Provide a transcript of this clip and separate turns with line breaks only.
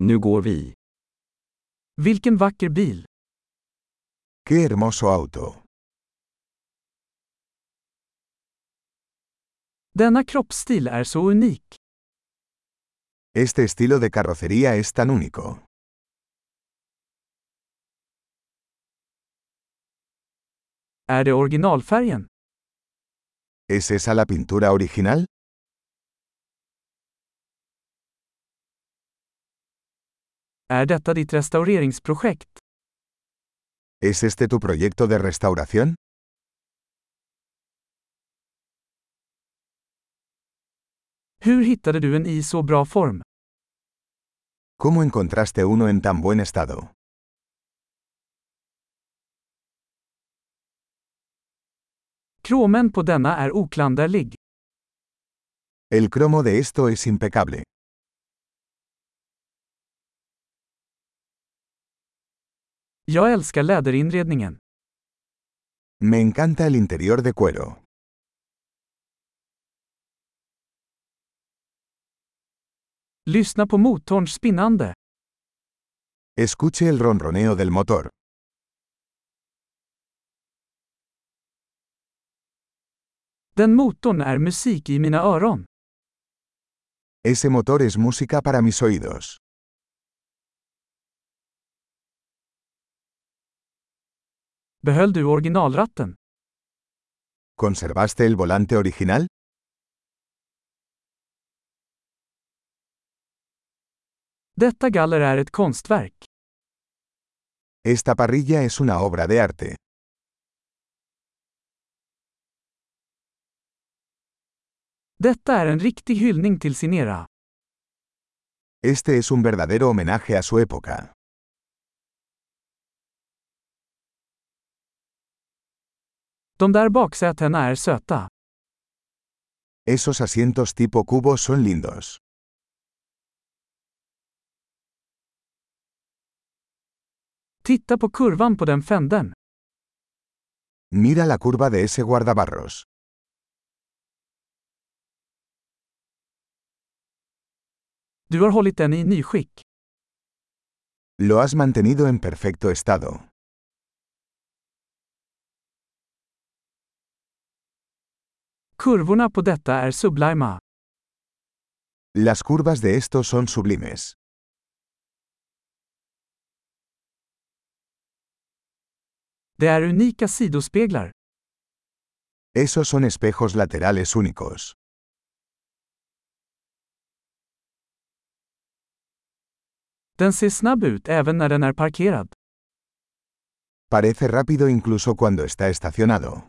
Nu går vi.
Vilken vacker bil!
¡Qué hermoso auto!
Denna kroppsstil är så unik.
Este estilo de carrocería es tan único.
Är det originalfärgen?
¿Es esa la pintura original?
Är detta ditt restaureringsprojekt?
¿Es este tu proyecto de restauración?
Hur hittade du en i så bra form?
¿Cómo encontraste uno en tan buen estado?
Kromen på denna är oklanderlig.
El cromo de esto es impecable.
Jag älskar läderinredningen.
Me encanta el interior de cuero.
Lyssna på motorns spinnande.
Escuche el ronroneo del motor.
Den motorn är musik i mina öron.
Ese motor es música para mis oídos.
Behöll du originalratten?
¿Conservaste el volante original?
Detta galler är ett konstverk.
Esta parrilla es una obra de arte.
Detta är en riktig hyllning till sin era.
Este es un verdadero homenaje a su época.
De där baksätena är söta.
Esos asientos tipo cubo son lindos.
Titta på kurvan på den fänden.
Mira la curva de ese guardabarros.
Du har hållit den i nyskick.
Lo has mantenido en perfecto estado.
Kurvorna på detta är sublima.
Las curvas de estos son sublimes.
Det är unika sidospeglar.
Esos son espejos laterales únicos.
Den ser snabb ut även när den är parkerad.
Parece rápido incluso cuando está estacionado.